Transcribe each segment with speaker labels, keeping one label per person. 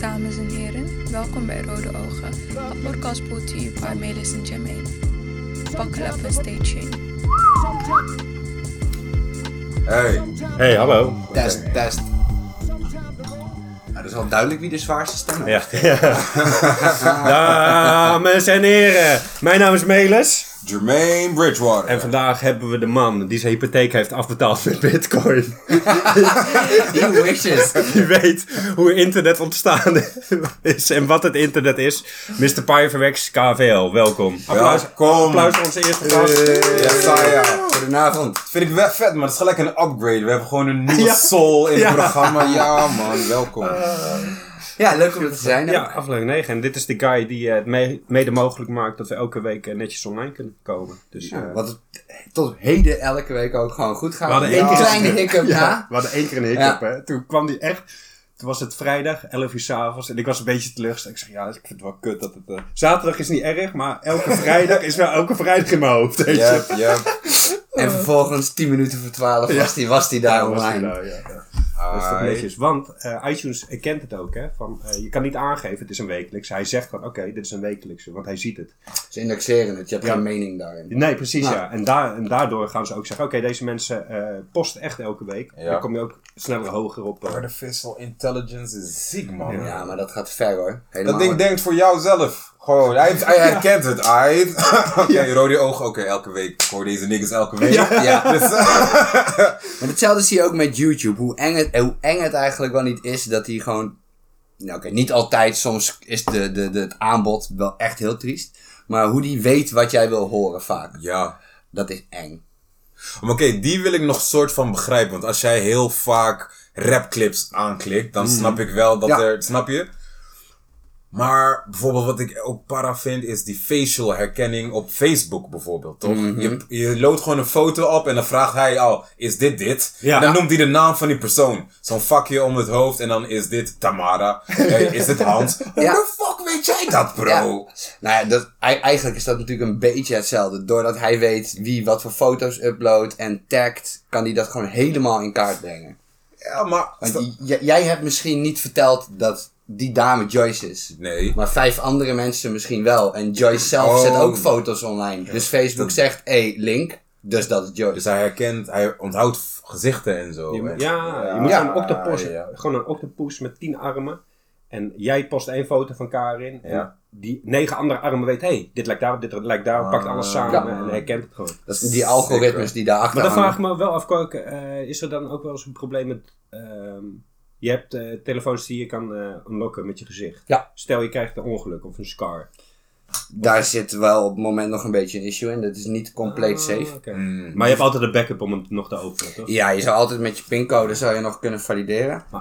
Speaker 1: dames en heren. Welkom bij Rode Ogen, a podcast brought to you by Melis and Jermaine. Buckle up and stay tuned.
Speaker 2: Hey,
Speaker 3: Hey, hallo.
Speaker 2: test, test. Nou, dat is wel duidelijk wie de zwaarste stem
Speaker 3: Ja.
Speaker 2: heeft.
Speaker 3: Dames en heren, mijn naam is Melis.
Speaker 4: Jermaine Bridgewater.
Speaker 3: En vandaag hebben we de man die zijn hypotheek heeft afbetaald met bitcoin.
Speaker 2: He wishes.
Speaker 3: Die weet hoe internet ontstaan is en wat het internet is. Mr. Pyverwex KVL, welkom. Applaus,
Speaker 4: Welkom.
Speaker 3: applaus voor onze eerste gast.
Speaker 4: Ja, Saya.
Speaker 2: Goedenavond.
Speaker 4: Dat vind ik wel vet, maar het is gelijk een upgrade. We hebben gewoon een nieuwe soul in het
Speaker 3: Ja. Eh.
Speaker 4: programma. Ja, man, welkom.
Speaker 2: Ja, leuk om er te zijn. hè?
Speaker 3: Ja, aflevering 9. En dit is de guy die eh, het me- mede mogelijk maakt dat we elke week eh, netjes online kunnen komen. Dus, eh,
Speaker 2: Wat het tot heden elke week ook gewoon goed gaat.
Speaker 3: We hadden
Speaker 2: Een
Speaker 3: één keer
Speaker 2: kleine
Speaker 3: een-
Speaker 2: hiccup
Speaker 3: Ja,
Speaker 2: na.
Speaker 3: we hadden één keer een hiccup,
Speaker 2: Ja.
Speaker 3: hè. Toen kwam die echt... Toen was het vrijdag, 11 uur s'avonds. En ik was een beetje teleurgesteld. Ik zeg, ja, ik vind het wel kut dat het... eh, Zaterdag is niet erg, maar elke vrijdag is wel elke vrijdag in mijn hoofd. Weet je.
Speaker 4: Yep, yep.
Speaker 2: En vervolgens 10 minuten voor 12 was die, was die daar
Speaker 3: Ja, was die
Speaker 2: online.
Speaker 3: nou, ja. Dat is toch netjes. Want eh, iTunes kent het ook, hè. Van, eh, je kan niet aangeven, het is een wekelijks. Hij zegt van, oké, dit is een wekelijkse. Want hij ziet het.
Speaker 2: Ze indexeren het, je hebt
Speaker 3: Ja.
Speaker 2: geen mening daarin.
Speaker 3: Nee, precies,
Speaker 2: Nou.
Speaker 3: ja. En, daar, en daardoor gaan ze ook zeggen, oké, deze mensen eh, posten echt elke week.
Speaker 4: Ja.
Speaker 3: Dan kom je ook sneller hoger op. eh,
Speaker 4: Artificial intelligence is ziek, man.
Speaker 2: Ja, maar dat gaat ver hoor. Helemaal
Speaker 4: Dat ding denkt voor jouzelf. Gewoon, hij, hij herkent het. Hij... Oké, rode ogen. Oké, elke week. Ik hoor deze niggas elke week.
Speaker 3: Ja.
Speaker 2: Ja.
Speaker 4: Dus, eh,
Speaker 2: Maar hetzelfde zie je ook met YouTube. Hoe eng het, hoe eng het eigenlijk wel niet is dat hij gewoon. Nou, oké, niet altijd. Soms is de, de, de, het aanbod wel echt heel triest. Maar hoe die weet wat jij wil horen vaak.
Speaker 4: ja.
Speaker 2: Dat is eng.
Speaker 4: Maar oké, die wil ik nog soort van begrijpen. Want als jij heel vaak rapclips aanklikt, dan snap ik wel dat
Speaker 2: Mhm. Ja.
Speaker 4: er... Snap je? Maar bijvoorbeeld wat ik ook para vind, is die facial herkenning op Facebook bijvoorbeeld, toch?
Speaker 2: Mhm.
Speaker 4: je, je loodt gewoon een foto op en dan vraagt hij al, is dit dit?
Speaker 3: Ja.
Speaker 4: En dan noemt hij de naam van die persoon. Zo'n vakje om het hoofd en dan is dit Tamara, Eh, is dit Hans? Hoe
Speaker 2: Ja.
Speaker 4: de fuck weet jij dat, bro?
Speaker 2: Ja. Nou ja, dat, ei- eigenlijk is dat natuurlijk een beetje hetzelfde. Doordat hij weet wie wat voor foto's uploadt en tagt, kan hij dat gewoon helemaal in kaart brengen.
Speaker 4: Ja, maar...
Speaker 2: Want j- j- jij hebt misschien niet verteld dat die dame Joyce is.
Speaker 4: Nee.
Speaker 2: Maar vijf andere mensen misschien wel. En Joyce zelf
Speaker 4: Oh.
Speaker 2: zet ook foto's online. Dus Facebook zegt, hé, hey, link. Dus dat is Joyce.
Speaker 4: Dus hij herkent, hij onthoudt f- gezichten en zo.
Speaker 3: Je moet-
Speaker 4: En-
Speaker 3: ja, je moet
Speaker 2: Ja,
Speaker 3: gewoon een octopus,
Speaker 4: ja.
Speaker 3: gewoon een octopus met tien armen. En jij post één foto van Karin. En
Speaker 4: Ja.
Speaker 3: die negen andere armen weet, hé, hey, dit lijkt daarop, dit lijkt daarop. Pakt alles samen en herkent het gewoon.
Speaker 2: Dat zijn die algoritmes die daarachter
Speaker 3: Maar dan vraag
Speaker 2: hangen.
Speaker 3: ik me wel af, Kook, eh, is er dan ook wel eens een probleem met... ehm, je hebt eh, telefoons die je kan eh unlocken met je gezicht.
Speaker 2: Ja.
Speaker 3: Stel je krijgt een ongeluk of een scar.
Speaker 2: Daar zit wel op het moment nog een beetje een issue in. Dat is niet compleet
Speaker 3: Ah,
Speaker 2: safe.
Speaker 3: oké. Maar je hebt altijd een backup om het nog te openen, toch?
Speaker 2: Ja, je zou altijd met je pincode zou je nog kunnen valideren.
Speaker 3: Ah.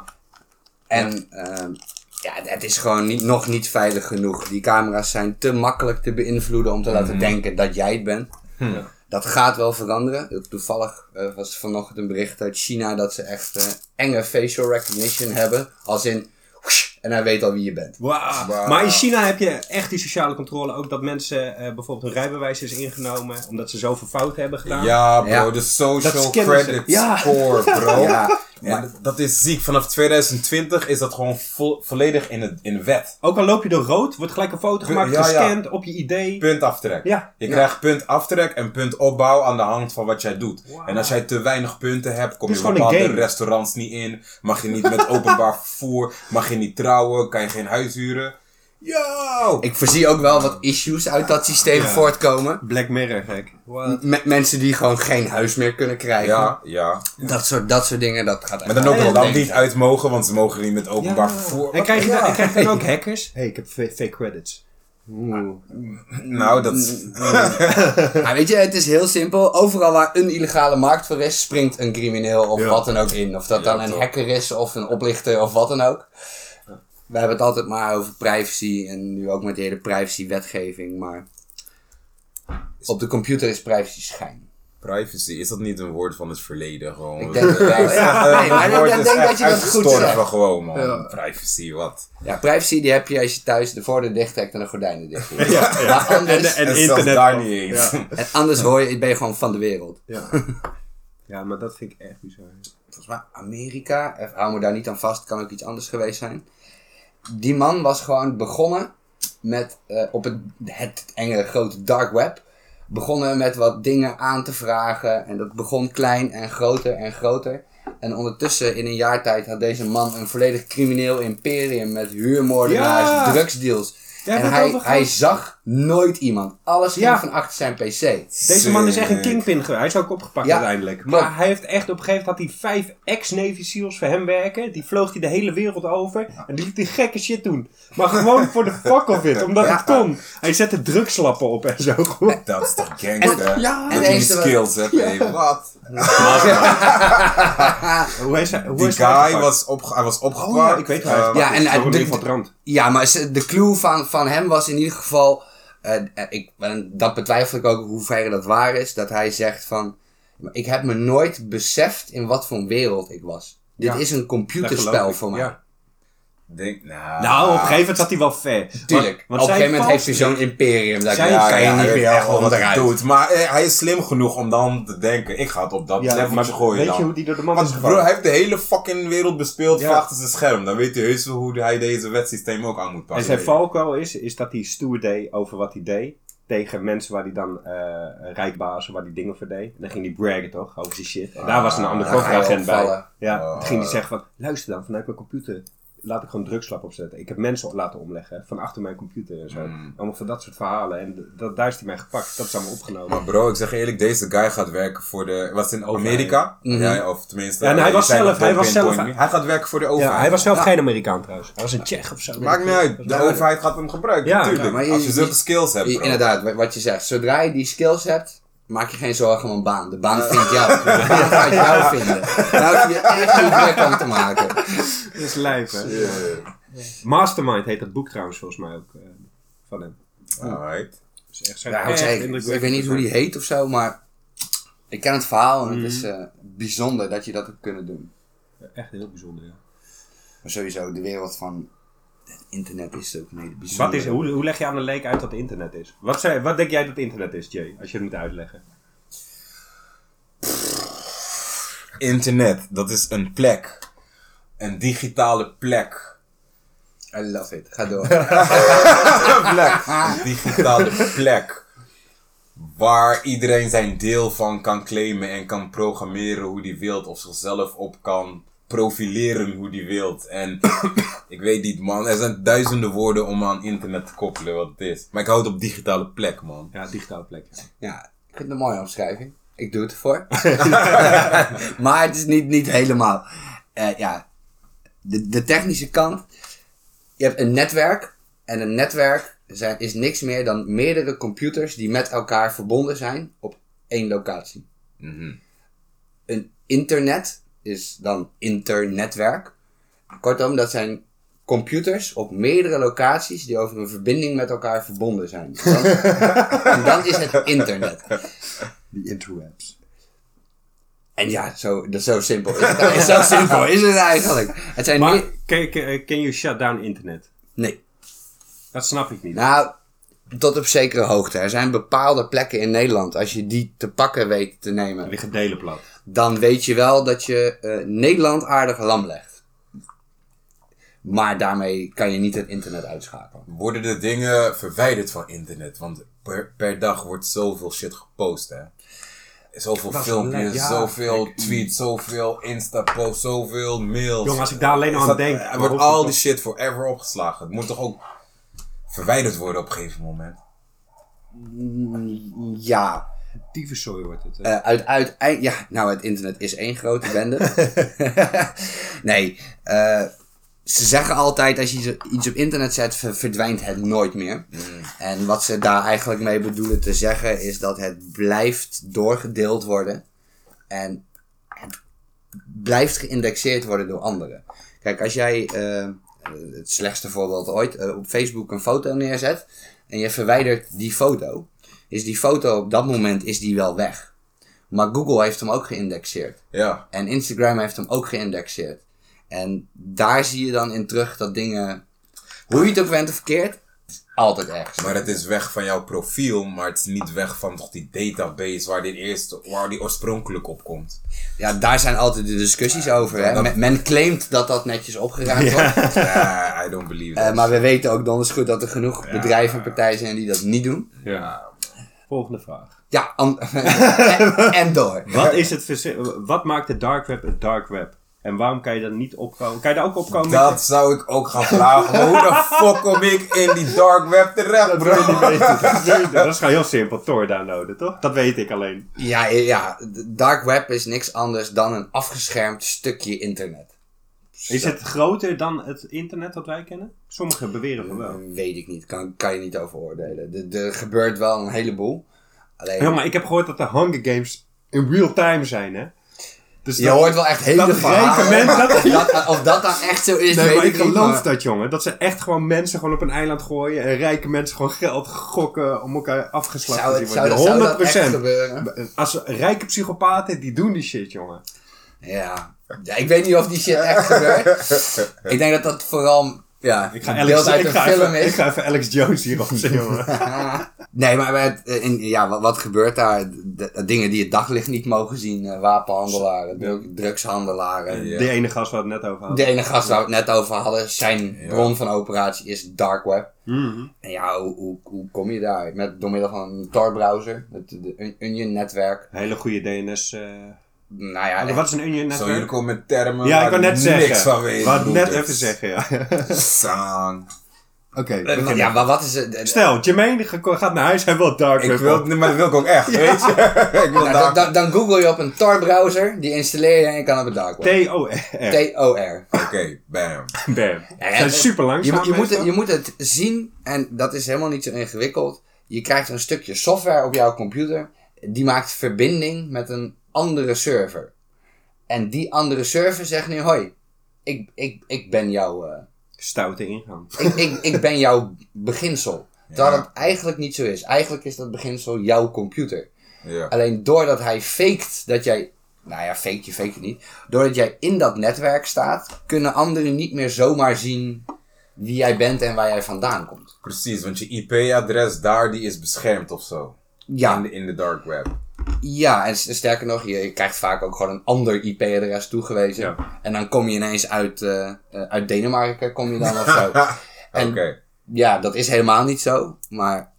Speaker 2: En ehm, ja, het is gewoon niet, nog niet veilig genoeg. Die camera's zijn te makkelijk te beïnvloeden om te
Speaker 4: Mhm.
Speaker 2: laten denken dat jij het bent.
Speaker 4: Hm.
Speaker 3: Ja.
Speaker 2: Dat gaat wel veranderen. Toevallig eh, was vanochtend een bericht uit China dat ze echt eh, enge facial recognition hebben. Als in, whoosh, en hij weet al wie je bent.
Speaker 3: Wauw.
Speaker 4: Wauw.
Speaker 3: Maar in China heb je echt die sociale controle. Ook dat mensen eh, bijvoorbeeld hun rijbewijs is ingenomen. Omdat ze zoveel fout hebben gedaan.
Speaker 4: Ja, bro,
Speaker 2: Ja.
Speaker 4: de
Speaker 3: Dat
Speaker 4: social
Speaker 3: kennen ze.
Speaker 4: credit
Speaker 2: Ja.
Speaker 4: score, bro.
Speaker 2: Ja,
Speaker 4: Maar dat- dat is ziek. Vanaf 2020 is dat gewoon vo- volledig in, het, in wet.
Speaker 3: Ook al loop je door rood. Wordt gelijk een foto gemaakt.
Speaker 4: Ja, ja.
Speaker 3: gescand op je idee.
Speaker 4: Punt aftrek.
Speaker 3: Ja.
Speaker 4: Je krijgt punt aftrek en punt opbouw aan de hand van wat jij doet. En als jij te weinig punten hebt, kom
Speaker 3: Het
Speaker 4: je
Speaker 3: is gewoon een
Speaker 4: bepaalde
Speaker 3: game.
Speaker 4: restaurants niet in. Mag je niet met openbaar vervoer. Mag je niet trouwen. Kan je geen huis huren. Yo!
Speaker 2: Ik voorzie ook wel wat issues uit dat systeem voortkomen.
Speaker 3: Black Mirror gek.
Speaker 2: Met mensen die gewoon geen huis meer kunnen krijgen.
Speaker 4: Ja, ja.
Speaker 2: Dat, soort, dat soort dingen, dat gaat
Speaker 4: Maar dan ook
Speaker 2: echt
Speaker 4: wel
Speaker 2: wel
Speaker 4: niet
Speaker 2: denken.
Speaker 4: uit mogen, want ze mogen niet met openbaar vervoer.
Speaker 3: En krijg je,
Speaker 4: Ja.
Speaker 3: dan, en krijg je dan ook hackers? Hé, hey, ik heb fa- fake credits.
Speaker 4: Nou, dat is...
Speaker 2: Mm. Maar weet je, het is heel simpel. Overal waar een illegale markt voor is, springt een crimineel of wat dan ook in. Of dat dan een
Speaker 4: toch.
Speaker 2: hacker is of een oplichter of wat dan ook. We hebben het altijd maar over privacy en nu ook met de hele privacy-wetgeving. Maar op de computer is privacy schijn.
Speaker 4: Privacy, is dat niet een woord van het verleden gewoon?
Speaker 2: Ik denk het wel.
Speaker 4: Ja, dus
Speaker 2: Nee, maar
Speaker 4: het
Speaker 2: ik
Speaker 4: woord
Speaker 2: denk
Speaker 4: is echt
Speaker 2: dat je dat goed
Speaker 4: uitgestorven
Speaker 2: zegt.
Speaker 4: gewoon, man. Privacy, wat?
Speaker 2: Ja, privacy die heb je als je thuis de voordeur dicht trekt en de gordijnen dicht doet. Maar
Speaker 3: En,
Speaker 2: anders,
Speaker 3: en,
Speaker 4: En zelfs
Speaker 3: internet.
Speaker 4: daar niet eens.
Speaker 2: en anders hoor je, ben je gewoon van de wereld.
Speaker 3: Ja. ja, maar dat vind ik echt bizar.
Speaker 2: volgens mij Amerika, eh, hou me daar niet aan vast, kan ook iets anders geweest zijn. die man was gewoon begonnen met eh, op het, het enge grote dark web. Begonnen met wat dingen aan te vragen. En dat begon klein en groter en groter. En ondertussen, in een jaar tijd, had deze man een volledig crimineel imperium met huurmoordenaars,
Speaker 3: Ja!
Speaker 2: drugsdeals.
Speaker 3: Jij hebt
Speaker 2: en
Speaker 3: het
Speaker 2: hij,
Speaker 3: over gehad.
Speaker 2: hij zag nooit iemand. Alles ging
Speaker 3: Ja.
Speaker 2: van achter zijn pc.
Speaker 3: Deze man is echt een kingpin geweest. Hij is ook opgepakt
Speaker 2: Ja,
Speaker 3: uiteindelijk.
Speaker 2: klopt.
Speaker 3: Maar hij heeft echt op een gegeven moment had hij vijf ex-Navy SEALs voor hem werken. Die vloog hij de hele wereld over. En die liet die gekke shit doen. Maar gewoon voor de fuck of it. Omdat
Speaker 2: Ja.
Speaker 3: het kon. Hij zette drugslappen op en zo.
Speaker 4: Dat is toch gangster?
Speaker 2: En-
Speaker 4: ja.
Speaker 2: ja.
Speaker 4: Dat
Speaker 2: En
Speaker 4: je die
Speaker 2: deze-
Speaker 4: skills hebt, hé, wat?
Speaker 3: Hoe is hij, hoe
Speaker 4: Die
Speaker 3: is hij
Speaker 4: guy
Speaker 3: opgepakt?
Speaker 4: was, opge hij was opgepakt.
Speaker 3: Oh ja, ik weet het.
Speaker 4: eh,
Speaker 2: Ja, en
Speaker 3: Is nog
Speaker 2: hij-
Speaker 3: een
Speaker 2: de-
Speaker 3: infiltrant.
Speaker 2: Ja, maar ze- de clue van, van hem was in ieder geval. eh, eh, ik, en dat betwijfel ik ook hoe ver dat waar is. Dat hij zegt van. Ik heb me nooit beseft in wat voor een wereld ik was. Dit
Speaker 3: Ja.
Speaker 2: is een
Speaker 3: Dat
Speaker 2: computerspel
Speaker 3: geloof ik,
Speaker 2: voor mij.
Speaker 3: ja.
Speaker 4: Denk, nou,
Speaker 3: Nou, op een gegeven moment zat hij wel ver.
Speaker 2: Ah. Tuurlijk. op een gegeven moment heeft hij zo'n imperium. Dat
Speaker 3: Zij
Speaker 2: ik, ja,
Speaker 3: kan
Speaker 2: kan
Speaker 3: je
Speaker 2: je
Speaker 4: hij
Speaker 2: niet
Speaker 4: weet echt
Speaker 2: meer
Speaker 4: wel
Speaker 2: echt
Speaker 4: wat hij
Speaker 2: onderuit.
Speaker 4: doet. Maar eh, hij is slim genoeg om dan te denken, ik ga het op dat
Speaker 3: Ja, maar
Speaker 4: leveltje gooien
Speaker 3: weet
Speaker 4: dan.
Speaker 3: je hoe die door de man
Speaker 4: Want
Speaker 3: is
Speaker 4: bro,
Speaker 3: gevallen?
Speaker 4: hij heeft de hele fucking wereld bespeeld
Speaker 3: Ja.
Speaker 4: van achter zijn scherm. Dan weet hij heus wel hoe hij deze wetsysteem ook aan moet
Speaker 3: En
Speaker 4: passen.
Speaker 3: zijn valkuil is, is dat hij stoer deed over wat hij deed. Tegen mensen waar hij dan eh rijkbazen, waar hij dingen voor deed. En dan ging hij braggen toch, over die shit. En daar was een andere
Speaker 2: dan ga je
Speaker 3: agent bij.
Speaker 2: opvallen.
Speaker 3: Ja,
Speaker 4: Ah.
Speaker 3: toen ging hij zeggen van, luister dan, vanuit mijn computer laat ik gewoon drugslap opzetten. Ik heb mensen op laten omleggen, van achter mijn computer en zo. Allemaal van dat soort verhalen. En dat, daar is hij mij gepakt, dat is allemaal opgenomen.
Speaker 4: Maar bro, ik zeg je eerlijk, deze guy gaat werken voor de... Was in Amerika? Ja, of tenminste...
Speaker 3: Mhm. Ja, en hij
Speaker 4: eh,
Speaker 3: was
Speaker 4: zijn
Speaker 3: zelf-
Speaker 4: op dat
Speaker 3: hij was
Speaker 4: pinpoint
Speaker 3: zelf-
Speaker 4: nu. Hij gaat werken voor de overheid.
Speaker 3: Ja, hij was zelf geen Amerikaan trouwens. Hij was een Tsjech of zo.
Speaker 4: Maakt niet uit, de
Speaker 2: Ja.
Speaker 4: overheid gaat hem gebruiken,
Speaker 3: Ja,
Speaker 4: natuurlijk.
Speaker 3: ja,
Speaker 2: maar je-
Speaker 4: Als je
Speaker 2: je-
Speaker 4: zulke skills hebt,
Speaker 2: I-
Speaker 4: bro.
Speaker 2: Inderdaad, wa- wat je zegt. Zodra je die skills hebt, maak je geen zorgen om een baan. De baan vindt jou. De baan gaat jou vinden. Daar hoef je echt niet druk om te maken.
Speaker 3: Dat is lijf, hè? Mastermind heet dat boek trouwens volgens mij ook eh, van hem.
Speaker 4: Alright.
Speaker 3: Dus echt zijn
Speaker 2: Ja, ik,
Speaker 3: echt
Speaker 2: zei,
Speaker 3: indrukwekkend
Speaker 2: ik weet niet hoe die heet of zo, maar ik ken het verhaal en het
Speaker 3: Mm.
Speaker 2: is eh, bijzonder dat je dat hebt kunnen doen.
Speaker 3: Echt heel bijzonder, ja.
Speaker 2: Maar sowieso, de wereld van het internet is ook mede bijzonder.
Speaker 3: Wat is, hoe, hoe leg je aan een leek uit dat het internet is? Wat, zei, wat denk jij dat internet is, Jay? Als je het moet uitleggen.
Speaker 4: Internet, dat is een plek. Een digitale plek.
Speaker 2: I love it. Ga door.
Speaker 4: plek. Een digitale plek. Waar iedereen zijn deel van kan claimen en kan programmeren hoe die wilt. Of zichzelf op kan profileren hoe die wilt. En ik weet niet man, er zijn duizenden woorden om aan internet te koppelen wat het is. Maar ik hou het op digitale plek man.
Speaker 3: Ja, digitale plek. ja.
Speaker 2: ja, ik vind het een mooie omschrijving. Ik doe het ervoor. maar het is niet, niet helemaal. Eh, ja, de, de technische kant. Je hebt een netwerk. En een netwerk zijn, is niks meer dan meerdere computers die met elkaar verbonden zijn op één locatie. Een internet is dan internetwerk. Kortom, dat zijn computers op meerdere locaties die over een verbinding met elkaar verbonden zijn. Dan- en dan is het internet.
Speaker 3: Die interwebs.
Speaker 2: En ja, zo, dat is zo simpel is het. Is zo simpel is het eigenlijk. Het zijn
Speaker 3: Maar
Speaker 2: meer-
Speaker 3: can, can, can you shut down internet?
Speaker 2: Nee.
Speaker 3: Dat snap ik niet.
Speaker 2: Nou, tot op zekere hoogte. Er zijn bepaalde plekken in Nederland. Als je die te pakken weet te nemen.
Speaker 3: Er liggen delen plat.
Speaker 2: dan weet je wel dat je eh, Nederland aardig lam legt. Maar daarmee kan je niet het internet uitschakelen.
Speaker 4: worden de dingen verwijderd van internet. Want per, per dag wordt zoveel shit gepost, hè. Zoveel filmpjes,
Speaker 3: gelijk, ja. mm.
Speaker 4: zoveel tweets, zoveel Insta-posts, zoveel mails.
Speaker 3: Jongen, als ik daar alleen
Speaker 4: Is
Speaker 3: nog aan
Speaker 4: dat-
Speaker 3: denk,
Speaker 4: Er
Speaker 3: dan
Speaker 4: wordt
Speaker 3: hoef ik
Speaker 4: al
Speaker 3: toch-
Speaker 4: die shit forever opgeslagen. Het moet toch ook verwijderd worden op een gegeven moment.
Speaker 2: Ja,
Speaker 3: Tyfuszooi wordt het. hè.
Speaker 2: eh, uit, uit, ei- ja, nou het internet is één grote bende. nee, eh, ze zeggen altijd als je iets- iets op internet zet, ver- verdwijnt het nooit meer. En wat ze daar eigenlijk mee bedoelen te zeggen is dat het blijft doorgedeeld worden. En blijft geïndexeerd worden door anderen. Kijk, als jij, eh, het slechtste voorbeeld ooit, eh, op Facebook een foto neerzet en je verwijdert die foto, is die foto op dat moment is die wel weg. Maar Google heeft hem ook geïndexeerd.
Speaker 4: Ja.
Speaker 2: En Instagram heeft hem ook geïndexeerd. En daar zie je dan in terug dat dingen, hoe je het ook bent of verkeerd, Altijd ergens.
Speaker 4: Maar het is weg van jouw profiel, maar het is niet weg van toch die database waar, dit eerst, waar die oorspronkelijk op komt.
Speaker 2: Ja, daar zijn altijd de discussies over. Hè?
Speaker 4: dat-
Speaker 2: Men, men claimt dat dat netjes opgeruimd wordt.
Speaker 4: Ja, I don't believe that.
Speaker 2: Eh, maar we weten ook donders goed dat er genoeg bedrijven en partijen zijn die dat niet doen.
Speaker 3: Ja. Volgende vraag.
Speaker 2: Ja, an- en, en door.
Speaker 3: Wat, is het verzi- wat maakt de dark web het dark web? En waarom kan je daar niet opkomen? Kan je daar ook opkomen?
Speaker 4: dat zou ik ook gaan vragen. Maar hoe de fuck kom ik in die dark web terecht, bro?
Speaker 3: dat is gewoon heel simpel. Tor downloaden, toch? Dat weet ik alleen.
Speaker 2: Ja, ja, de dark web is niks anders dan een afgeschermd stukje internet.
Speaker 3: Is het groter dan het internet dat wij kennen? Sommigen beweren van wel.
Speaker 2: Mm, Weet ik niet, kan, kan je niet over oordelen. Er- Er gebeurt wel een heleboel. Alleen,
Speaker 3: Ja, maar ik heb gehoord dat de Hunger Games in real time zijn, hè? Dus
Speaker 2: je
Speaker 3: dat-
Speaker 2: hoort wel echt hele
Speaker 3: dat
Speaker 2: verhalen.
Speaker 3: rijke mensen... Dat,
Speaker 2: Of dat, of dat nou echt zo is,
Speaker 3: nee,
Speaker 2: weet
Speaker 3: maar
Speaker 2: ik
Speaker 3: ik
Speaker 2: niet.
Speaker 3: geloof
Speaker 2: maar-
Speaker 3: dat, jongen. Dat ze echt gewoon mensen gewoon op een eiland gooien... en rijke mensen gewoon geld gokken om elkaar afgeslacht
Speaker 2: Zou,
Speaker 3: te
Speaker 2: het,
Speaker 3: zien
Speaker 2: zou,
Speaker 3: worden.
Speaker 2: dat- zou dat echt gebeuren?
Speaker 3: 100%. Als rijke psychopaten, die doen die shit, jongen.
Speaker 2: Ja. ja, ik weet niet of die shit echt gebeurt. ik denk dat dat vooral ja,
Speaker 3: Ik ga
Speaker 2: een beeld
Speaker 3: Alex,
Speaker 2: uit
Speaker 3: ik
Speaker 2: een
Speaker 3: ga
Speaker 2: film
Speaker 3: even,
Speaker 2: is.
Speaker 3: ik ga even Alex Jones hierop zetten, jongen.
Speaker 2: Nee, maar het, eh, in, ja, wat, wat gebeurt daar? De- de dingen die het daglicht niet mogen zien. eh, wapenhandelaren, dru- drugshandelaren.
Speaker 4: Ja.
Speaker 3: Die ene gast waar we het net over hadden.
Speaker 2: De ene gast waar we het net over hadden, zijn bron van operatie is dark web.
Speaker 3: Mhm.
Speaker 2: En ja, hoe, hoe, hoe kom je daar? Met, door middel van een Tor-browser, het de Un- Union-netwerk.
Speaker 3: Hele goede DNS. eh oh,
Speaker 2: Nou ja,
Speaker 3: Wat is een union
Speaker 4: Zo, jullie
Speaker 3: netwerk?
Speaker 4: komen met termen
Speaker 3: Ja,
Speaker 4: waar
Speaker 3: ik wou net
Speaker 4: niks
Speaker 3: zeggen.
Speaker 4: van weet.
Speaker 3: Wat net
Speaker 4: broeders.
Speaker 3: even zeggen, ja.
Speaker 4: Saan.
Speaker 3: Oké.
Speaker 2: eh, wa- ja, maar wat is het? eh,
Speaker 3: Stel, Jermaine ge- gaat naar huis en wil dark
Speaker 4: Ik
Speaker 3: web
Speaker 4: wil,
Speaker 3: op.
Speaker 4: nee, maar dat wil ik ook echt, weet je? ik wil
Speaker 2: Nou,
Speaker 4: daar...
Speaker 2: dan, dan, dan google je op een Tor-browser, die installeer je en je kan op het dark web.
Speaker 3: T-O-R.
Speaker 2: T-O-R.
Speaker 4: Oké, bam.
Speaker 3: Bam.
Speaker 2: ja,
Speaker 3: Zijn
Speaker 2: eh,
Speaker 3: super
Speaker 2: Je,
Speaker 3: langzaam.
Speaker 2: moet- je, moet het,
Speaker 3: meestal.
Speaker 2: je moet het zien, en dat is helemaal niet zo ingewikkeld. Je krijgt een stukje software op jouw computer, die maakt verbinding met een andere server. En die andere server zegt nu: Hoi, ik, ik, ik ben jouw. eh,
Speaker 3: Stoute ingang.
Speaker 2: ik, ik, ik ben jouw beginsel. Terwijl dat eigenlijk niet zo is. Eigenlijk is dat beginsel jouw computer.
Speaker 4: Ja.
Speaker 2: Alleen doordat hij faked dat jij. Nou ja, fake je, fake het niet. Doordat jij in dat netwerk staat, kunnen anderen niet meer zomaar zien wie jij bent en waar jij vandaan komt.
Speaker 4: Precies, want je IP-adres daar die is beschermd of zo. In,
Speaker 2: Ja,
Speaker 4: de, in de dark web.
Speaker 2: ja en s- sterker nog, je, je krijgt vaak ook gewoon een ander IP-adres toegewezen.
Speaker 3: Ja.
Speaker 2: En dan kom je ineens uit, eh, eh, uit Denemarken, kom je dan of zo.
Speaker 4: Oké.
Speaker 2: En ja, dat is helemaal niet zo. Maar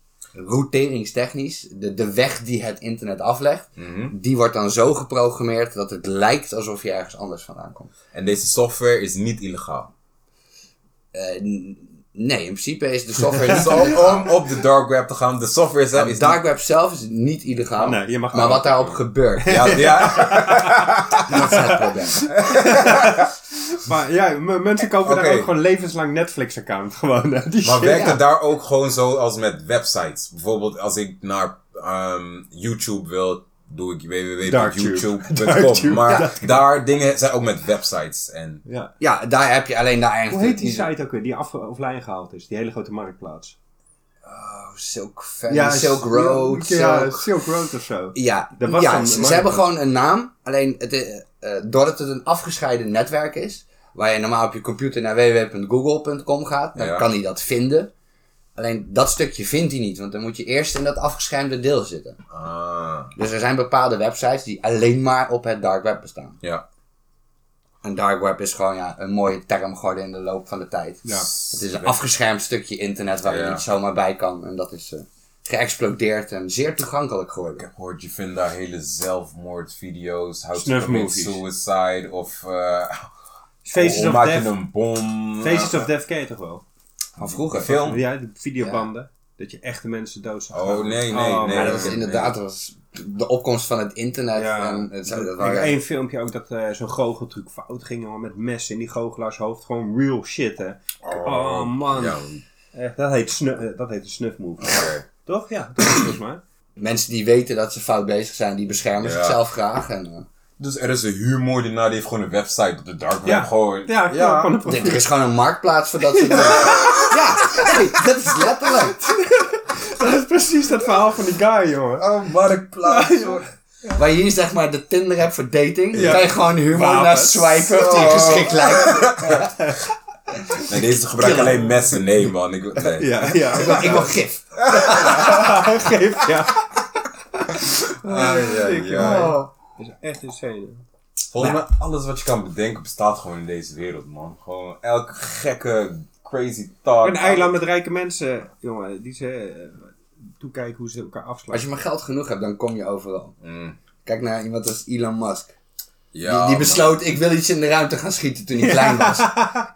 Speaker 2: routeringstechnisch, de, de weg die het internet aflegt, die wordt dan zo geprogrammeerd dat het lijkt alsof je ergens anders vandaan komt.
Speaker 4: En deze software is niet illegaal.
Speaker 2: Eh, n- nee, in principe is de software niet
Speaker 4: Zo, om op de dark web te gaan, de software zelf is
Speaker 2: Het dark web zelf is niet illegaal,
Speaker 3: Oh, Nee, je mag
Speaker 2: maar
Speaker 3: wel-
Speaker 2: wat daarop gebeurt,
Speaker 4: niet... Ja, ja.
Speaker 2: dat is het probleem.
Speaker 3: Maar ja, m- mensen kopen daar
Speaker 4: Oké.
Speaker 3: ook gewoon levenslang Netflix-account. Gewoon, hè, die
Speaker 4: Maar
Speaker 3: shit.
Speaker 4: werkt
Speaker 2: Ja.
Speaker 4: het daar ook gewoon zo als met websites? Bijvoorbeeld als ik naar ehm, YouTube wil, doe ik
Speaker 3: Darktube.
Speaker 4: www.youtube.com. Maar daar dingen zijn ook met websites. En
Speaker 3: Ja.
Speaker 2: Ja, daar heb je alleen daar
Speaker 3: Hoe
Speaker 2: eigenlijk...
Speaker 3: heet die site ook weer die af offline gehaald is? Die hele grote marktplaats.
Speaker 2: Silk, Valley, Silk
Speaker 3: s-
Speaker 2: Road,
Speaker 3: Ja,
Speaker 2: Silk-
Speaker 3: Silk Road of zo.
Speaker 2: Ja,
Speaker 3: Dat was
Speaker 2: ja
Speaker 3: dan-
Speaker 2: ze,
Speaker 3: maar-
Speaker 2: ze hebben gewoon een naam. Alleen het, eh, eh, doordat het een afgescheiden netwerk is, waar je normaal op je computer naar www.google.com gaat, dan
Speaker 4: Ja.
Speaker 2: kan hij dat vinden. Alleen dat stukje vindt hij niet, want dan moet je eerst in dat afgeschermde deel zitten.
Speaker 4: ah,
Speaker 2: Dus er zijn bepaalde websites die alleen maar op het dark web bestaan.
Speaker 4: ja.
Speaker 2: En dark web is gewoon ja, een mooie term geworden in de loop van de tijd.
Speaker 4: Oh,
Speaker 3: Ja.
Speaker 2: Het is een afgeschermd stukje internet waar je
Speaker 4: Ja.
Speaker 2: niet zomaar bij kan. En dat is eh, geëxplodeerd en zeer toegankelijk
Speaker 4: Ik
Speaker 2: geworden.
Speaker 4: heb gehoord, je vindt daar hele zelfmoordvideo's, how to
Speaker 3: Snuff
Speaker 4: commit
Speaker 3: movies.
Speaker 4: suicide of eh
Speaker 3: Faces
Speaker 4: hoe
Speaker 3: of
Speaker 4: maak
Speaker 3: Death.
Speaker 4: je een bom.
Speaker 3: Faces of Death K toch wel?
Speaker 2: Van vroeger.
Speaker 4: film.
Speaker 3: Ja, de videobanden. Dat je echte mensen dood zag.
Speaker 4: Oh,
Speaker 3: gaan.
Speaker 4: nee, nee, nee.
Speaker 2: Maar
Speaker 3: man.
Speaker 2: dat was inderdaad dat was de opkomst van het internet.
Speaker 3: Ja.
Speaker 2: En het, zo, dat
Speaker 3: Ik heb
Speaker 2: waren,
Speaker 3: één filmpje ook dat eh, zo'n goocheltruc fout ging, jongen, met messen in die goochelaars hoofd. Gewoon real shit, hè. Oh, man.
Speaker 4: Ja,
Speaker 3: Echt, dat, heet snu- eh, dat heet een snuffmovie.
Speaker 4: oké.
Speaker 3: Toch? Ja, dat is volgens mij.
Speaker 2: mensen die weten dat ze fout bezig zijn, die beschermen
Speaker 4: Ja.
Speaker 2: zichzelf graag. En, eh,
Speaker 4: Dus er is een huurmoordenaar, die heeft gewoon een website op de dark web.
Speaker 3: Ja.
Speaker 4: Gewoon,
Speaker 3: Ja, ja. Van een profiel.
Speaker 2: er is gewoon een marktplaats voor dat soort dingen. Ja, hey, dat is letterlijk.
Speaker 3: Dat is precies dat verhaal van die guy, jongen.
Speaker 4: Oh, marktplaats. hoor.
Speaker 2: Waar je hier zeg maar de Tinder hebt voor dating,
Speaker 3: Ja.
Speaker 2: kan je gewoon humor naar
Speaker 3: Wapens.
Speaker 2: swipen of die geschikt lijkt.
Speaker 4: Nee, deze gebruiken alleen messen. Nee, man. Ik, nee.
Speaker 3: Ja, ja.
Speaker 2: Ik wil, ik wil gif.
Speaker 3: Geef, ja.
Speaker 4: Ah, ja, ja.
Speaker 3: Oh. Dat is echt insane.
Speaker 4: Volgens mij, alles wat je kan bedenken bestaat gewoon in deze wereld, man. Gewoon elke gekke, crazy talk.
Speaker 3: Een eiland met rijke mensen, jongen, die ze eh, toekijken hoe ze elkaar
Speaker 2: Als
Speaker 3: afsluiten.
Speaker 2: je maar geld genoeg hebt, dan kom je overal.
Speaker 4: Mm.
Speaker 2: Kijk naar iemand als Elon Musk.
Speaker 4: Ja,
Speaker 2: die, die
Speaker 4: man.
Speaker 2: besloot, ik wil iets in de ruimte gaan schieten toen hij klein was.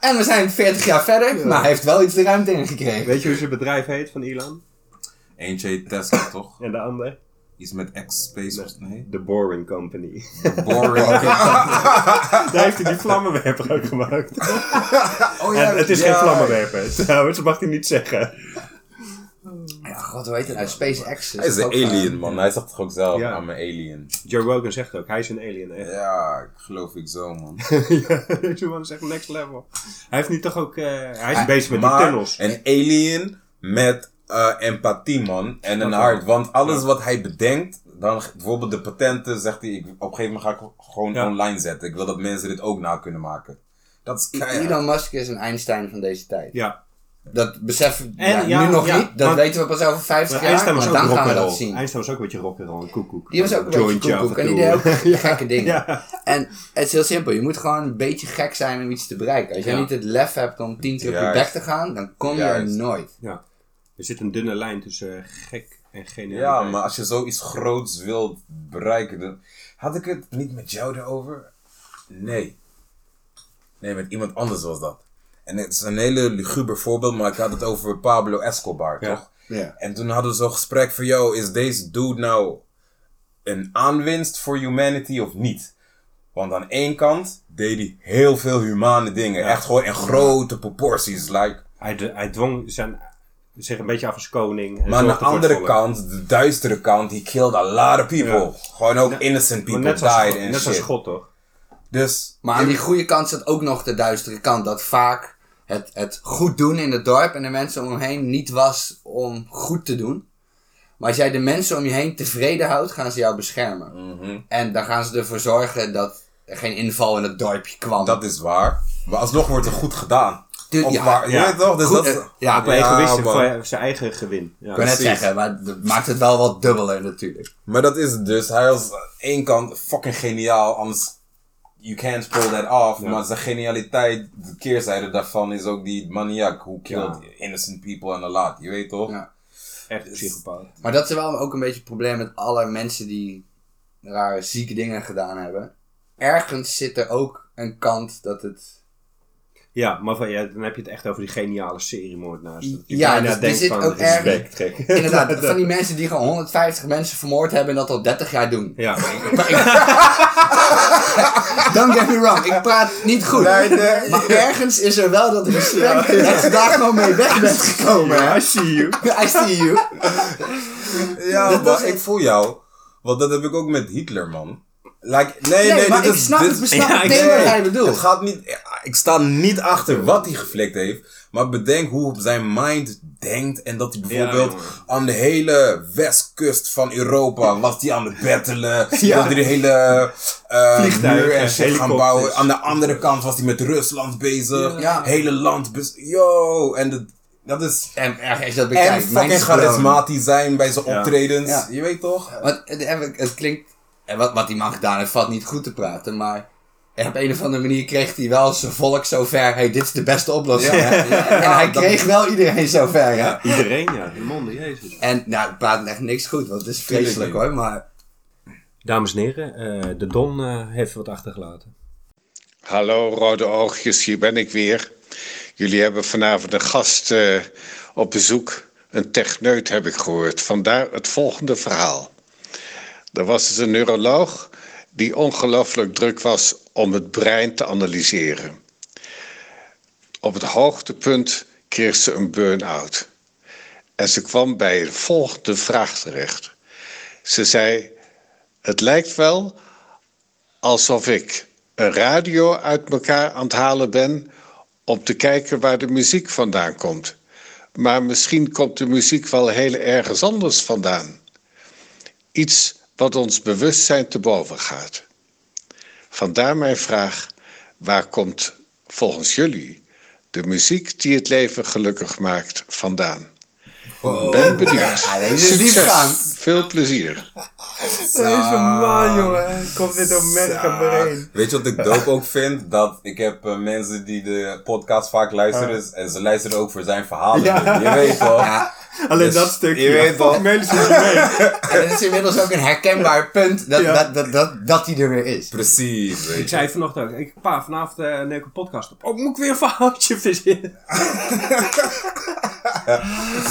Speaker 2: En we zijn 40 jaar verder, maar hij heeft wel iets de ruimte ingekregen.
Speaker 3: Weet je hoe zijn bedrijf heet van Elon?
Speaker 4: Eentje heet Tesla, toch?
Speaker 3: En de ander?
Speaker 4: Iets met X-Space of nee?
Speaker 3: The Boring Company.
Speaker 4: Boring.
Speaker 3: Daar heeft hij die vlammenwerper ook gemaakt.
Speaker 2: Oh
Speaker 3: En het is geen
Speaker 2: ja.
Speaker 3: vlammenwerper, trouwens, dat mag hij niet zeggen.
Speaker 2: Ja, god, hoe heet het nou? SpaceX.
Speaker 4: Hij is een
Speaker 2: toch ook,
Speaker 4: alien,
Speaker 2: eh,
Speaker 4: man. Hij zegt toch ook zelf,
Speaker 3: Ja.
Speaker 4: I'm an alien.
Speaker 3: Joe Rogan zegt ook, hij is een alien. Echt.
Speaker 4: Ja, ik geloof ik zo, man.
Speaker 3: Ja, Deze man is echt next level. Hij heeft nu toch ook, eh, hij is bezig met die
Speaker 4: maar
Speaker 3: tunnels.
Speaker 4: een alien met eh, empathie, man. En een hart. Want alles wat hij bedenkt, dan ge- bijvoorbeeld de patenten, zegt hij, ik, op een gegeven moment ga ik gewoon
Speaker 3: Ja.
Speaker 4: online zetten. Ik wil dat mensen dit ook na kunnen maken. Dat is keihard.
Speaker 2: Elon Musk is een Einstein van deze tijd.
Speaker 3: Ja,
Speaker 2: Dat beseffen we
Speaker 3: En
Speaker 2: ja,
Speaker 3: ja,
Speaker 2: nu nog
Speaker 3: ja,
Speaker 2: niet. Dat
Speaker 3: want-
Speaker 2: weten we pas over 50
Speaker 3: maar
Speaker 2: jaar.
Speaker 3: Einstein was
Speaker 2: maar
Speaker 3: ook
Speaker 2: dan gaan we
Speaker 3: rock'n'roll.
Speaker 2: dat zien.
Speaker 3: Einstein was ook een beetje rock'n'roll, een koekoek.
Speaker 2: Die was ook een beetje
Speaker 3: Jointje af
Speaker 2: koekoek en
Speaker 3: toe.
Speaker 2: die deed ook gekke dingen.
Speaker 3: Ja.
Speaker 2: En het is heel simpel. Je moet gewoon een beetje gek zijn om iets te bereiken. Als jij
Speaker 4: Ja.
Speaker 2: niet het lef hebt om tien keer op je
Speaker 4: Juist.
Speaker 2: bek te gaan, dan kom je er
Speaker 4: Juist.
Speaker 2: nooit.
Speaker 3: Ja. Er zit een dunne lijn tussen eh, gek en geniaal.
Speaker 4: Ja, maar als je zoiets groots wilt bereiken, dan... Had ik het niet met jou erover? Nee. Nee, met iemand anders was dat. En het is een hele luguber voorbeeld, maar ik had het over Pablo Escobar,
Speaker 3: Ja.
Speaker 4: toch?
Speaker 2: Ja.
Speaker 4: En toen hadden we zo'n gesprek van, yo, is deze dude nou een aanwinst voor humanity of niet? Want aan één kant deed hij heel veel humane dingen. Echt gewoon in grote proporties. Like,
Speaker 3: Hij, d- hij dwong zijn, zich een beetje af als koning. en
Speaker 4: Maar aan de
Speaker 3: zorgde voor het
Speaker 4: andere
Speaker 3: volk.
Speaker 4: kant, de duistere kant, he killed a lot of people. Gewoon ook innocent
Speaker 3: Maar
Speaker 4: people
Speaker 3: net als,
Speaker 4: died en
Speaker 3: net als
Speaker 4: shit.
Speaker 3: God, toch?
Speaker 4: Dus,
Speaker 2: Maar aan die goede kant zit ook nog de duistere kant. Dat vaak het, het goed doen in het dorp en de mensen om hem heen niet was om goed te doen. Maar als jij de mensen om je heen tevreden houdt, gaan ze jou beschermen. En dan gaan ze ervoor zorgen dat er geen inval in het dorpje kwam.
Speaker 4: dat is waar. Maar alsnog wordt er goed gedaan.
Speaker 2: Tuur-
Speaker 4: Of
Speaker 2: ja,
Speaker 4: waar,
Speaker 3: ja.
Speaker 4: je weet toch? Dus
Speaker 2: Goed,
Speaker 4: dat is-
Speaker 2: eh, ja,
Speaker 3: Maar egoïst
Speaker 4: man.
Speaker 3: voor zijn eigen gewin. Ja.
Speaker 2: Ik kan net
Speaker 4: Precies.
Speaker 2: zeggen, maar dat maakt het wel wat dubbeler natuurlijk.
Speaker 4: Maar dat is het dus. Hij was aan één kant fucking geniaal, anders you can't pull that off. Maar zijn genialiteit, de keerzijde daarvan is ook die maniac who killed
Speaker 3: Ja.
Speaker 4: innocent people and a lot. Je weet toch?
Speaker 2: Ja.
Speaker 3: Echt een psychopaat.
Speaker 2: Maar dat is wel ook een beetje het probleem met alle mensen die rare zieke dingen gedaan hebben. Ergens zit er ook een kant dat het...
Speaker 3: Ja, maar van, ja, dan heb je het echt over die geniale seriemoordenaars. Dat je
Speaker 2: Ja,
Speaker 3: bijna
Speaker 2: dus er
Speaker 3: denkt
Speaker 2: zit
Speaker 3: van,
Speaker 2: ook
Speaker 3: respect,
Speaker 2: erg-
Speaker 3: gek.
Speaker 2: Inderdaad, van die mensen die gewoon 150 mensen vermoord hebben en dat al 30 jaar doen.
Speaker 3: Ja,
Speaker 2: Don't get me wrong, ik praat niet goed. Maar ergens is er wel dat respect dat je daar gewoon mee weg bent gekomen. hè?
Speaker 3: I see you.
Speaker 2: I see you.
Speaker 4: Ja,
Speaker 2: Dat was
Speaker 4: maar
Speaker 2: het.
Speaker 4: ik voel jou. Want dat heb ik ook met Hitler, man. Like, nee, nee,
Speaker 2: Nee, maar
Speaker 4: dit
Speaker 2: ik
Speaker 4: is,
Speaker 2: snap
Speaker 4: dit
Speaker 2: het,
Speaker 4: is-
Speaker 2: we snappen
Speaker 3: Ja, ik-
Speaker 2: meteen wat
Speaker 4: Nee,
Speaker 2: hij bedoelt.
Speaker 4: Het gaat niet, ik sta niet achter wat hij geflikt heeft. Maar bedenk hoe zijn mind denkt. En dat hij bijvoorbeeld
Speaker 3: jongen.
Speaker 4: aan de hele westkust van Europa was hij aan het bettelen.
Speaker 2: Ja.
Speaker 4: Wilde hij de hele eh,
Speaker 3: Vliegtuigen,
Speaker 4: muur en shit gaan
Speaker 3: helikopters.
Speaker 4: bouwen. Aan de andere kant was hij met Rusland bezig.
Speaker 2: Ja.
Speaker 4: Hele land. bez- Yo, en dat- dat is.
Speaker 2: En ergens is dat
Speaker 4: En
Speaker 2: bekijkt. mijn
Speaker 4: fucking charismatisch zijn bij zijn
Speaker 3: Ja.
Speaker 4: optredens.
Speaker 2: Ja.
Speaker 4: Je weet toch?
Speaker 2: Want het, het- het klinkt. En wat, wat die man gedaan heeft, valt niet goed te praten, maar. Op een of andere manier kreeg hij wel zijn volk zover. Hé, hey, dit is de beste oplossing. hè? En hij
Speaker 4: dat-
Speaker 2: kreeg wel iedereen zover. Hè?
Speaker 3: Iedereen, ja. De monden, jezus.
Speaker 2: En nou, ik praat echt niks goed, want het is
Speaker 4: Tuurlijk
Speaker 2: vreselijk
Speaker 4: niet.
Speaker 2: hoor. Maar
Speaker 3: Dames en heren, eh, de Don eh, heeft wat achtergelaten.
Speaker 5: Hallo Rode Oogjes, hier ben ik weer. Jullie hebben vanavond een gast eh, op bezoek. Een techneut heb ik gehoord. Vandaar het volgende verhaal. Er was dus een neuroloog die ongelooflijk druk was om het brein te analyseren. Op het hoogtepunt kreeg ze een burn-out. En ze kwam bij een volgende vraag terecht. Ze zei: Het lijkt wel alsof ik een radio uit elkaar aan het halen ben om te kijken waar de muziek vandaan komt. Maar misschien komt de muziek wel heel ergens anders vandaan. Iets wat ons bewustzijn te boven gaat. Vandaar mijn vraag: waar komt volgens jullie de muziek die het leven gelukkig maakt, vandaan.
Speaker 2: Wow.
Speaker 5: Ben benieuwd.
Speaker 2: Ja, deze is
Speaker 5: Succes.
Speaker 2: diepgaand.
Speaker 5: Veel plezier.
Speaker 3: Deze man, jongen. Komt dit door Merga Brain.
Speaker 4: Ah, Weet je wat ik dope ook vind? Dat ik heb eh, mensen die de podcast vaak luisteren en ze luisteren ook voor zijn verhalen.
Speaker 3: Ja.
Speaker 4: Je weet toch?
Speaker 3: Alleen
Speaker 4: Dus
Speaker 3: dat stukje.
Speaker 4: je weet wel.
Speaker 3: Fuck Melis is mee.
Speaker 2: En het is inmiddels ook een herkenbaar punt dat,
Speaker 3: Ja.
Speaker 2: dat, dat, dat, dat die er weer is.
Speaker 4: Precies, weet
Speaker 3: Ik
Speaker 4: je.
Speaker 3: zei vanochtend ook, ik pa, vanavond eh, neem ik een podcast op. Oh, moet ik weer een verhaaltje verzinnen?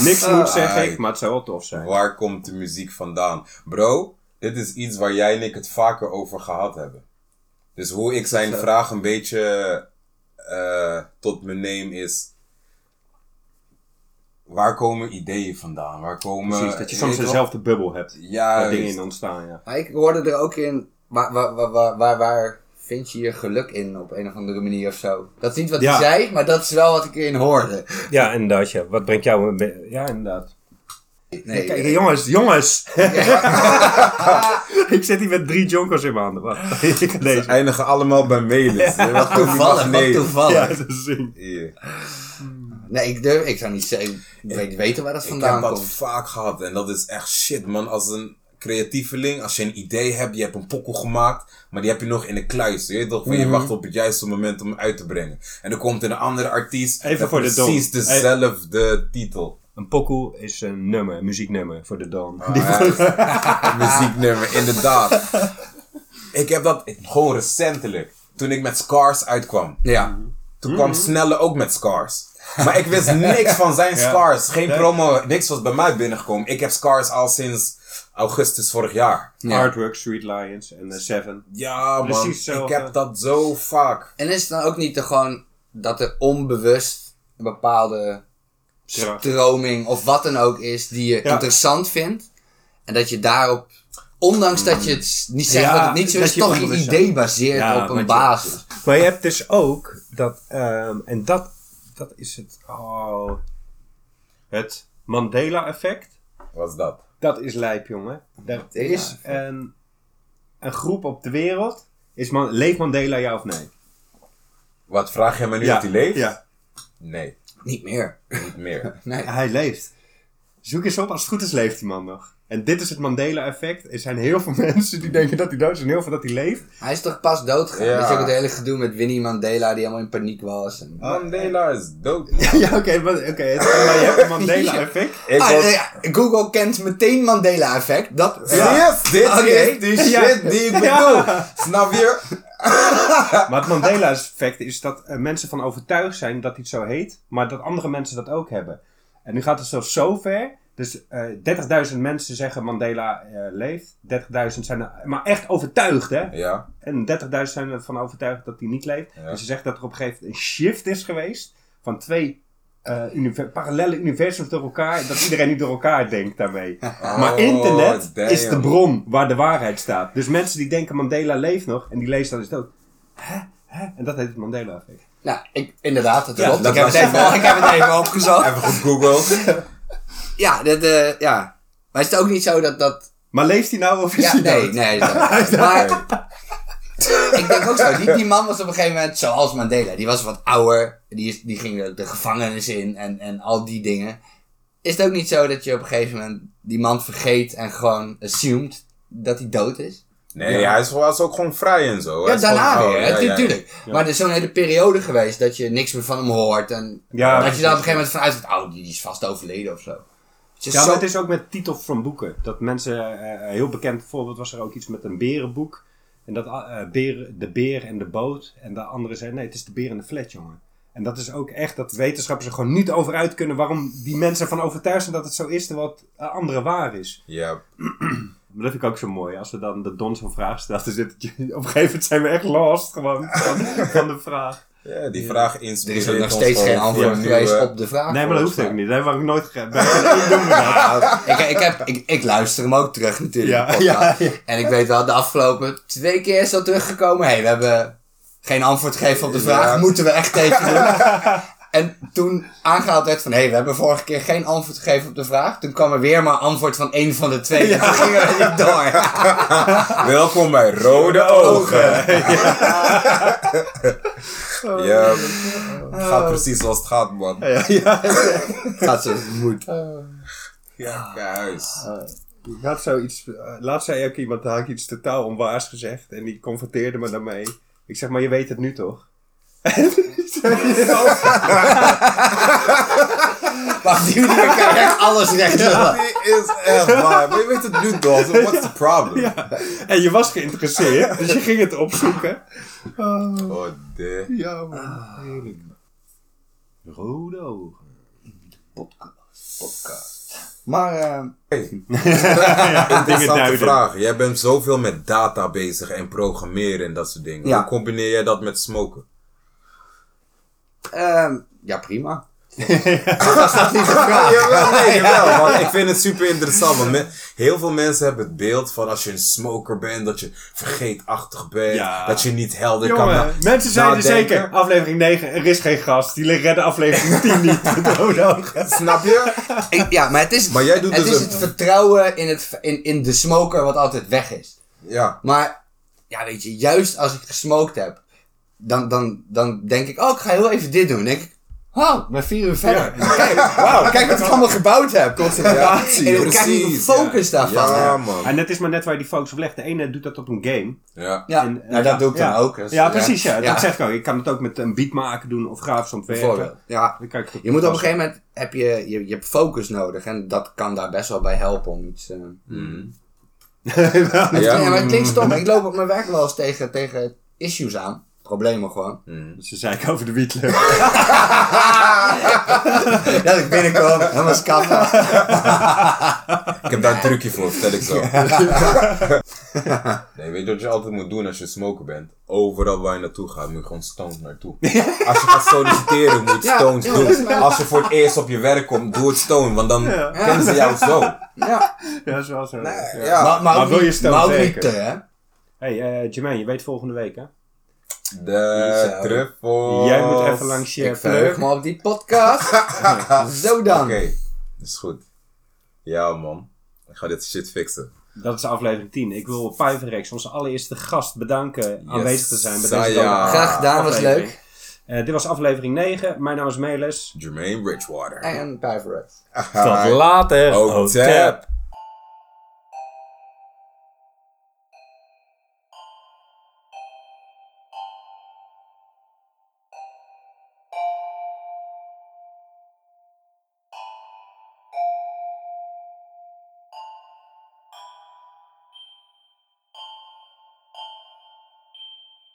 Speaker 3: Niks
Speaker 2: Ah.
Speaker 3: moet, zeg ik, maar het zou wel tof zijn.
Speaker 4: Waar komt de muziek vandaan? Bro, dit is iets waar jij en ik het vaker over gehad hebben. Dus hoe ik zijn vraag een beetje eh, tot me neem is... Waar komen ideeën vandaan? Waar
Speaker 2: Oh,
Speaker 4: komen...
Speaker 3: Precies, dat je soms
Speaker 4: weet toch?
Speaker 3: dezelfde bubbel hebt.
Speaker 4: Ja,
Speaker 3: Waar dingen
Speaker 4: juist.
Speaker 3: in ontstaan, ja.
Speaker 2: Maar ik hoorde er ook in, waar, waar, waar, waar, waar, waar vind je je geluk in op een of andere manier of zo? Dat is niet wat
Speaker 3: Ja.
Speaker 2: hij zei, maar dat is wel wat ik erin hoorde.
Speaker 3: Ja, inderdaad, ja. Wat brengt jou... Ja, inderdaad.
Speaker 2: Nee,
Speaker 3: Kijk, jongens, jongens! ik zit hier met drie jonkers in mijn handen. Wacht, ik ga deze.
Speaker 4: Eindigen allemaal bij Melis. Wat
Speaker 2: toevallig, wat
Speaker 3: Ja,
Speaker 2: toevallig.
Speaker 3: dat is zin.
Speaker 4: toevallig.
Speaker 2: Nee, ik durf, ik zou niet zeggen, ik weet weten waar dat
Speaker 4: Ik
Speaker 2: vandaan
Speaker 4: heb dat
Speaker 2: komt.
Speaker 4: vaak gehad en dat is echt shit, man. Als een creatieveling, als je een idee hebt, je hebt een pokkel gemaakt, maar die heb je nog in de kluis. Je weet toch, van
Speaker 3: Mhm.
Speaker 4: je wacht op het juiste moment om hem uit te brengen. En dan komt er een andere artiest
Speaker 3: Even
Speaker 4: met
Speaker 3: voor de dom.
Speaker 4: precies
Speaker 3: Even-
Speaker 4: dezelfde titel.
Speaker 3: Een pokoe is een nummer, een muzieknummer voor de Don.
Speaker 4: Een muzieknummer, inderdaad. Ik heb dat gewoon recentelijk, toen ik met Scars uitkwam.
Speaker 2: Ja.
Speaker 4: Toen kwam Snelle ook met Scars. Maar ik wist niks van zijn Scars. Geen promo, niks was bij mij binnengekomen. Ik heb Scars al sinds augustus vorig jaar.
Speaker 2: Ja.
Speaker 3: Hardwork, Street Lions en eh, Seven.
Speaker 4: Ja, man.
Speaker 3: Precies zo,
Speaker 4: ik
Speaker 3: ja.
Speaker 4: heb dat zo vaak.
Speaker 2: En is het dan ook niet er gewoon dat er onbewust een bepaalde
Speaker 3: Ja.
Speaker 2: stroming of wat dan ook is die je
Speaker 3: Ja.
Speaker 2: interessant vindt? En dat je daarop, ondanks dat je het s- niet zegt
Speaker 3: Ja,
Speaker 2: dat het niet zo
Speaker 3: dat
Speaker 2: is,
Speaker 3: je
Speaker 2: toch je
Speaker 3: onbewust
Speaker 2: idee baseert
Speaker 3: Ja,
Speaker 2: op
Speaker 3: want
Speaker 2: een
Speaker 3: je-
Speaker 2: basis.
Speaker 3: Maar je hebt dus ook dat, ehm, en dat, dat is het, oh, het Mandela-effect.
Speaker 4: Wat is dat?
Speaker 3: Dat is lijp, jongen. Er is een, een groep op de wereld. Is man, leeft Mandela ja of nee?
Speaker 4: Wat vraag je me nu of hij leeft?
Speaker 3: Ja,
Speaker 4: Nee,
Speaker 2: Niet meer.
Speaker 4: niet meer.
Speaker 2: Nee.
Speaker 3: hij leeft. Zoek eens op, als het goed is leeft die man nog. En dit is het Mandela-effect. Er zijn heel veel mensen die denken dat hij dood is en heel veel dat hij leeft.
Speaker 2: Hij is toch pas doodgegaan?
Speaker 4: Ja.
Speaker 2: Dat is ook het hele gedoe met Winnie Mandela die helemaal in paniek was. En...
Speaker 3: Oh.
Speaker 4: Oh, Mandela is dood.
Speaker 3: Ja, oké, maar, oké, het- maar je hebt een Mandela-effect.
Speaker 4: Ik
Speaker 2: Ah,
Speaker 4: was-
Speaker 2: nee, ja, Google kent meteen Mandela-effect. Dat...
Speaker 4: Serieus? Dit
Speaker 2: Oké.
Speaker 4: is die shit
Speaker 3: Ja.
Speaker 4: die ik bedoel.
Speaker 3: Ja.
Speaker 4: Snap je?
Speaker 3: Maar het Mandela-effect is dat eh, mensen van overtuigd zijn dat iets zo heet, maar dat andere mensen dat ook hebben. En nu gaat het zelfs zo ver. Dus eh 30.000 mensen zeggen Mandela eh, leeft. 30.000 zijn er, maar echt overtuigd, hè?
Speaker 4: Ja.
Speaker 3: En 30.000 zijn ervan overtuigd dat hij niet leeft.
Speaker 4: Ja.
Speaker 3: En ze zegt dat er op een gegeven moment een shift is geweest van twee eh, univer- parallele universums door elkaar. Dat iedereen nu door elkaar denkt daarmee.
Speaker 2: Oh,
Speaker 3: maar internet
Speaker 4: damn.
Speaker 3: is de bron waar de waarheid staat. Dus mensen die denken Mandela leeft nog en die lezen dan is het ook. Hè? Hè? En dat heet het Mandela-effect.
Speaker 2: Nou, ik, inderdaad, dat klopt.
Speaker 4: dat
Speaker 2: ik, heb
Speaker 4: was
Speaker 2: het
Speaker 4: je wel.
Speaker 2: even, ik heb het even opgezocht.
Speaker 4: Even gegoogeld.
Speaker 2: Ja, dat, eh, ja. Maar is het ook niet zo dat dat...
Speaker 3: Maar leeft hij nou of is
Speaker 2: Ja,
Speaker 3: hij
Speaker 2: nee,
Speaker 3: dood?
Speaker 2: nee. dat- Maar ik denk ook zo. Die, die man was op een gegeven moment zoals Mandela. Die was wat ouder. Die, is- die ging de, de gevangenis in en, en al die dingen. Is het ook niet zo dat je op een gegeven moment die man vergeet en gewoon assumed dat hij dood is?
Speaker 4: Nee, hij is, was ook gewoon vrij en zo. Hij
Speaker 2: Ja,
Speaker 4: is
Speaker 2: daarna
Speaker 4: gewoon-
Speaker 2: weer,
Speaker 4: oh,
Speaker 2: hè,
Speaker 4: ja, ja.
Speaker 2: natuurlijk. Maar er is zo'n hele periode geweest dat je niks meer van hem hoort. En
Speaker 3: Ja,
Speaker 2: dat
Speaker 3: precies.
Speaker 2: je daar op een gegeven moment vanuit gaat, oh, die die is vast overleden of zo. Het is
Speaker 3: Ja,
Speaker 2: zo-
Speaker 3: maar het is ook met titels van boeken. Dat mensen, eh, een heel bekend voorbeeld was er ook iets met een berenboek. En dat eh, beren- de beer en de boot. En de andere zei, nee, het is de beer en de flat, jongen. En dat is ook echt dat wetenschappers er gewoon niet over uit kunnen waarom die mensen ervan overtuigd zijn dat het zo is, terwijl het eh, andere waar is.
Speaker 4: Ja.
Speaker 3: Maar dat vind ik ook zo mooi. Als we dan de Don zo'n vraag stelt, dan zit het je- op een gegeven moment zijn we echt lost gewoon van, van de vraag.
Speaker 4: Ja, die vraag
Speaker 2: Er
Speaker 4: inspireert
Speaker 2: is ook nog
Speaker 4: ons
Speaker 2: steeds
Speaker 4: gewoon
Speaker 2: geen antwoord
Speaker 4: voor
Speaker 2: geweest
Speaker 4: nieuwe-
Speaker 2: op de vraag.
Speaker 3: Nee, maar dat hoeft ook
Speaker 2: volgens
Speaker 3: niet. Dat heb ik nooit ge- bij geen één doen we dat.
Speaker 2: mij. Ik, ik, heb, ik, ik luister hem ook terug natuurlijk.
Speaker 3: Ja,
Speaker 2: de podcast.
Speaker 3: ja, ja.
Speaker 2: En ik weet wel, de afgelopen twee keer is dat teruggekomen. Hé, hey, we hebben geen antwoord gegeven op de vraag.
Speaker 4: Ja.
Speaker 2: Moeten we echt tegen doen? En toen aangehaald werd van, hé, hey, we hebben vorige keer geen antwoord gegeven op de vraag. Toen kwam er weer maar antwoord van één van de twee. En toen gingen we niet door.
Speaker 4: Welkom bij Rode Ogen. Ja, het
Speaker 2: Oh.
Speaker 4: gaat precies zoals het gaat, man.
Speaker 6: Ja, ja.
Speaker 2: Gaat zo, moet.
Speaker 4: Ja, naar huis.
Speaker 3: Ik had zoiets, eh, laatst zei ook iemand, had ik iets totaal onwaars gezegd. En die confronteerde me daarmee. Ik zeg, maar je weet het nu toch?
Speaker 2: Wacht, die manier kan je echt alles recht zetten.
Speaker 4: Die is echt waar. Maar je weet het nu toch, so what's the problem?
Speaker 3: En je was geïnteresseerd, dus je ging het opzoeken.
Speaker 4: Oh, de.
Speaker 6: Ja, man. Heerlijk.
Speaker 3: Rode ogen.
Speaker 2: Maar, eh,
Speaker 4: Interessante
Speaker 3: duiden.
Speaker 4: vraag. Jij bent zoveel met data bezig en programmeren en dat soort dingen.
Speaker 2: Ja.
Speaker 4: Hoe combineer jij dat met smoken?
Speaker 2: ehm, ja, prima. Dat staat niet gevraagd.
Speaker 4: Jawel, nee, jawel. Want ik vind het super interessant. Want me- heel veel mensen hebben het beeld van als je een smoker bent, dat je vergeetachtig bent.
Speaker 3: Ja.
Speaker 4: Dat je niet helder kan nou, na-
Speaker 3: Jongen, mensen zeiden
Speaker 2: Nou,
Speaker 4: nadenken.
Speaker 3: zeker, aflevering 9, er is geen gast. Die redden aflevering 10 niet met rode ogen.
Speaker 4: Snap je?
Speaker 2: Ik- ja, maar het is,
Speaker 4: Maar jij doet
Speaker 2: het,
Speaker 4: dus
Speaker 2: is
Speaker 4: een-
Speaker 2: het vertrouwen in, het, v- in, in de smoker wat altijd weg is.
Speaker 4: Ja.
Speaker 2: Maar, ja, weet je, juist als ik gesmoked heb, dan, dan, dan denk ik, oh, ik ga heel even dit doen. Dan denk ik, oh,
Speaker 6: Maar vier uur verder.
Speaker 2: verder. Kijk, wauw, kijk wat ik allemaal gebouwd heb. Concentratie. En dan krijg je de
Speaker 4: Precies,
Speaker 2: focus
Speaker 4: ja.
Speaker 2: daarvan.
Speaker 4: Ja,
Speaker 2: Ja,
Speaker 4: Ah, man.
Speaker 3: En dat is maar net waar je die focus op legt. De ene doet dat op een game.
Speaker 4: Ja.
Speaker 3: En, eh,
Speaker 2: nou, dat doe ik dan
Speaker 3: ja.
Speaker 2: ook. dus,
Speaker 3: ja, precies. Ja.
Speaker 2: Ja.
Speaker 3: Dat zeg ik ook. Ik kan het ook met een beat maken doen of grafisch
Speaker 2: Bijvoorbeeld.
Speaker 3: ontwerpen.
Speaker 2: Ja.
Speaker 3: Dan kan ik goed
Speaker 2: Je moet op een
Speaker 3: toepassen.
Speaker 2: gegeven moment heb je, je, je hebt focus nodig en dat kan daar best wel bij helpen om iets. eh,
Speaker 3: Mm.
Speaker 4: Ah, Ja.
Speaker 2: Ja, maar het klinkt stom. Ik loop op mijn werk wel eens tegen, tegen issues aan. Problemen gewoon.
Speaker 3: Ze zei ik over de wietler. Mm.
Speaker 2: Dat ik binnenkom, helemaal schaffen.
Speaker 4: Ik heb daar een trucje voor, vertel ik zo. nee, weet je wat je altijd moet doen als je smoker bent? Overal waar je naartoe gaat, moet je gewoon stoned naartoe. Als je gaat solliciteren, moet je
Speaker 2: Ja,
Speaker 4: stoned
Speaker 2: ja, dat is
Speaker 4: doen.
Speaker 2: waar.
Speaker 4: Als je voor het eerst op je werk komt, doe het stoned, want dan kennen ze jou zo.
Speaker 2: Ja.
Speaker 3: ja, dat is wel zo. ja.
Speaker 4: Ja.
Speaker 2: Maar, maar, ook
Speaker 3: wil je
Speaker 2: niet-
Speaker 3: stem
Speaker 2: maar ook
Speaker 3: zeker?
Speaker 2: niet te, hè?
Speaker 3: Hey, eh Jermaine, je weet volgende week, hè?
Speaker 4: De
Speaker 2: Zo.
Speaker 4: truffel.
Speaker 3: Jij moet even langs je...
Speaker 2: Ik verheug me op die podcast. Zo dan.
Speaker 4: Oké, is goed. Ja, man. Ik ga dit shit fixen.
Speaker 3: Dat is aflevering 10. Ik wil Pyverex, onze allereerste gast, bedanken aanwezig te zijn bij
Speaker 4: Ah,
Speaker 3: deze
Speaker 4: ja.
Speaker 3: ja.
Speaker 2: Graag gedaan, was
Speaker 3: Aflevering. Eh,
Speaker 2: leuk.
Speaker 3: Dit was aflevering 9. Mijn naam is Meles.
Speaker 4: Jermaine Bridgewater.
Speaker 2: En Pyverex.
Speaker 4: Hi.
Speaker 3: later.
Speaker 4: Oh, tap.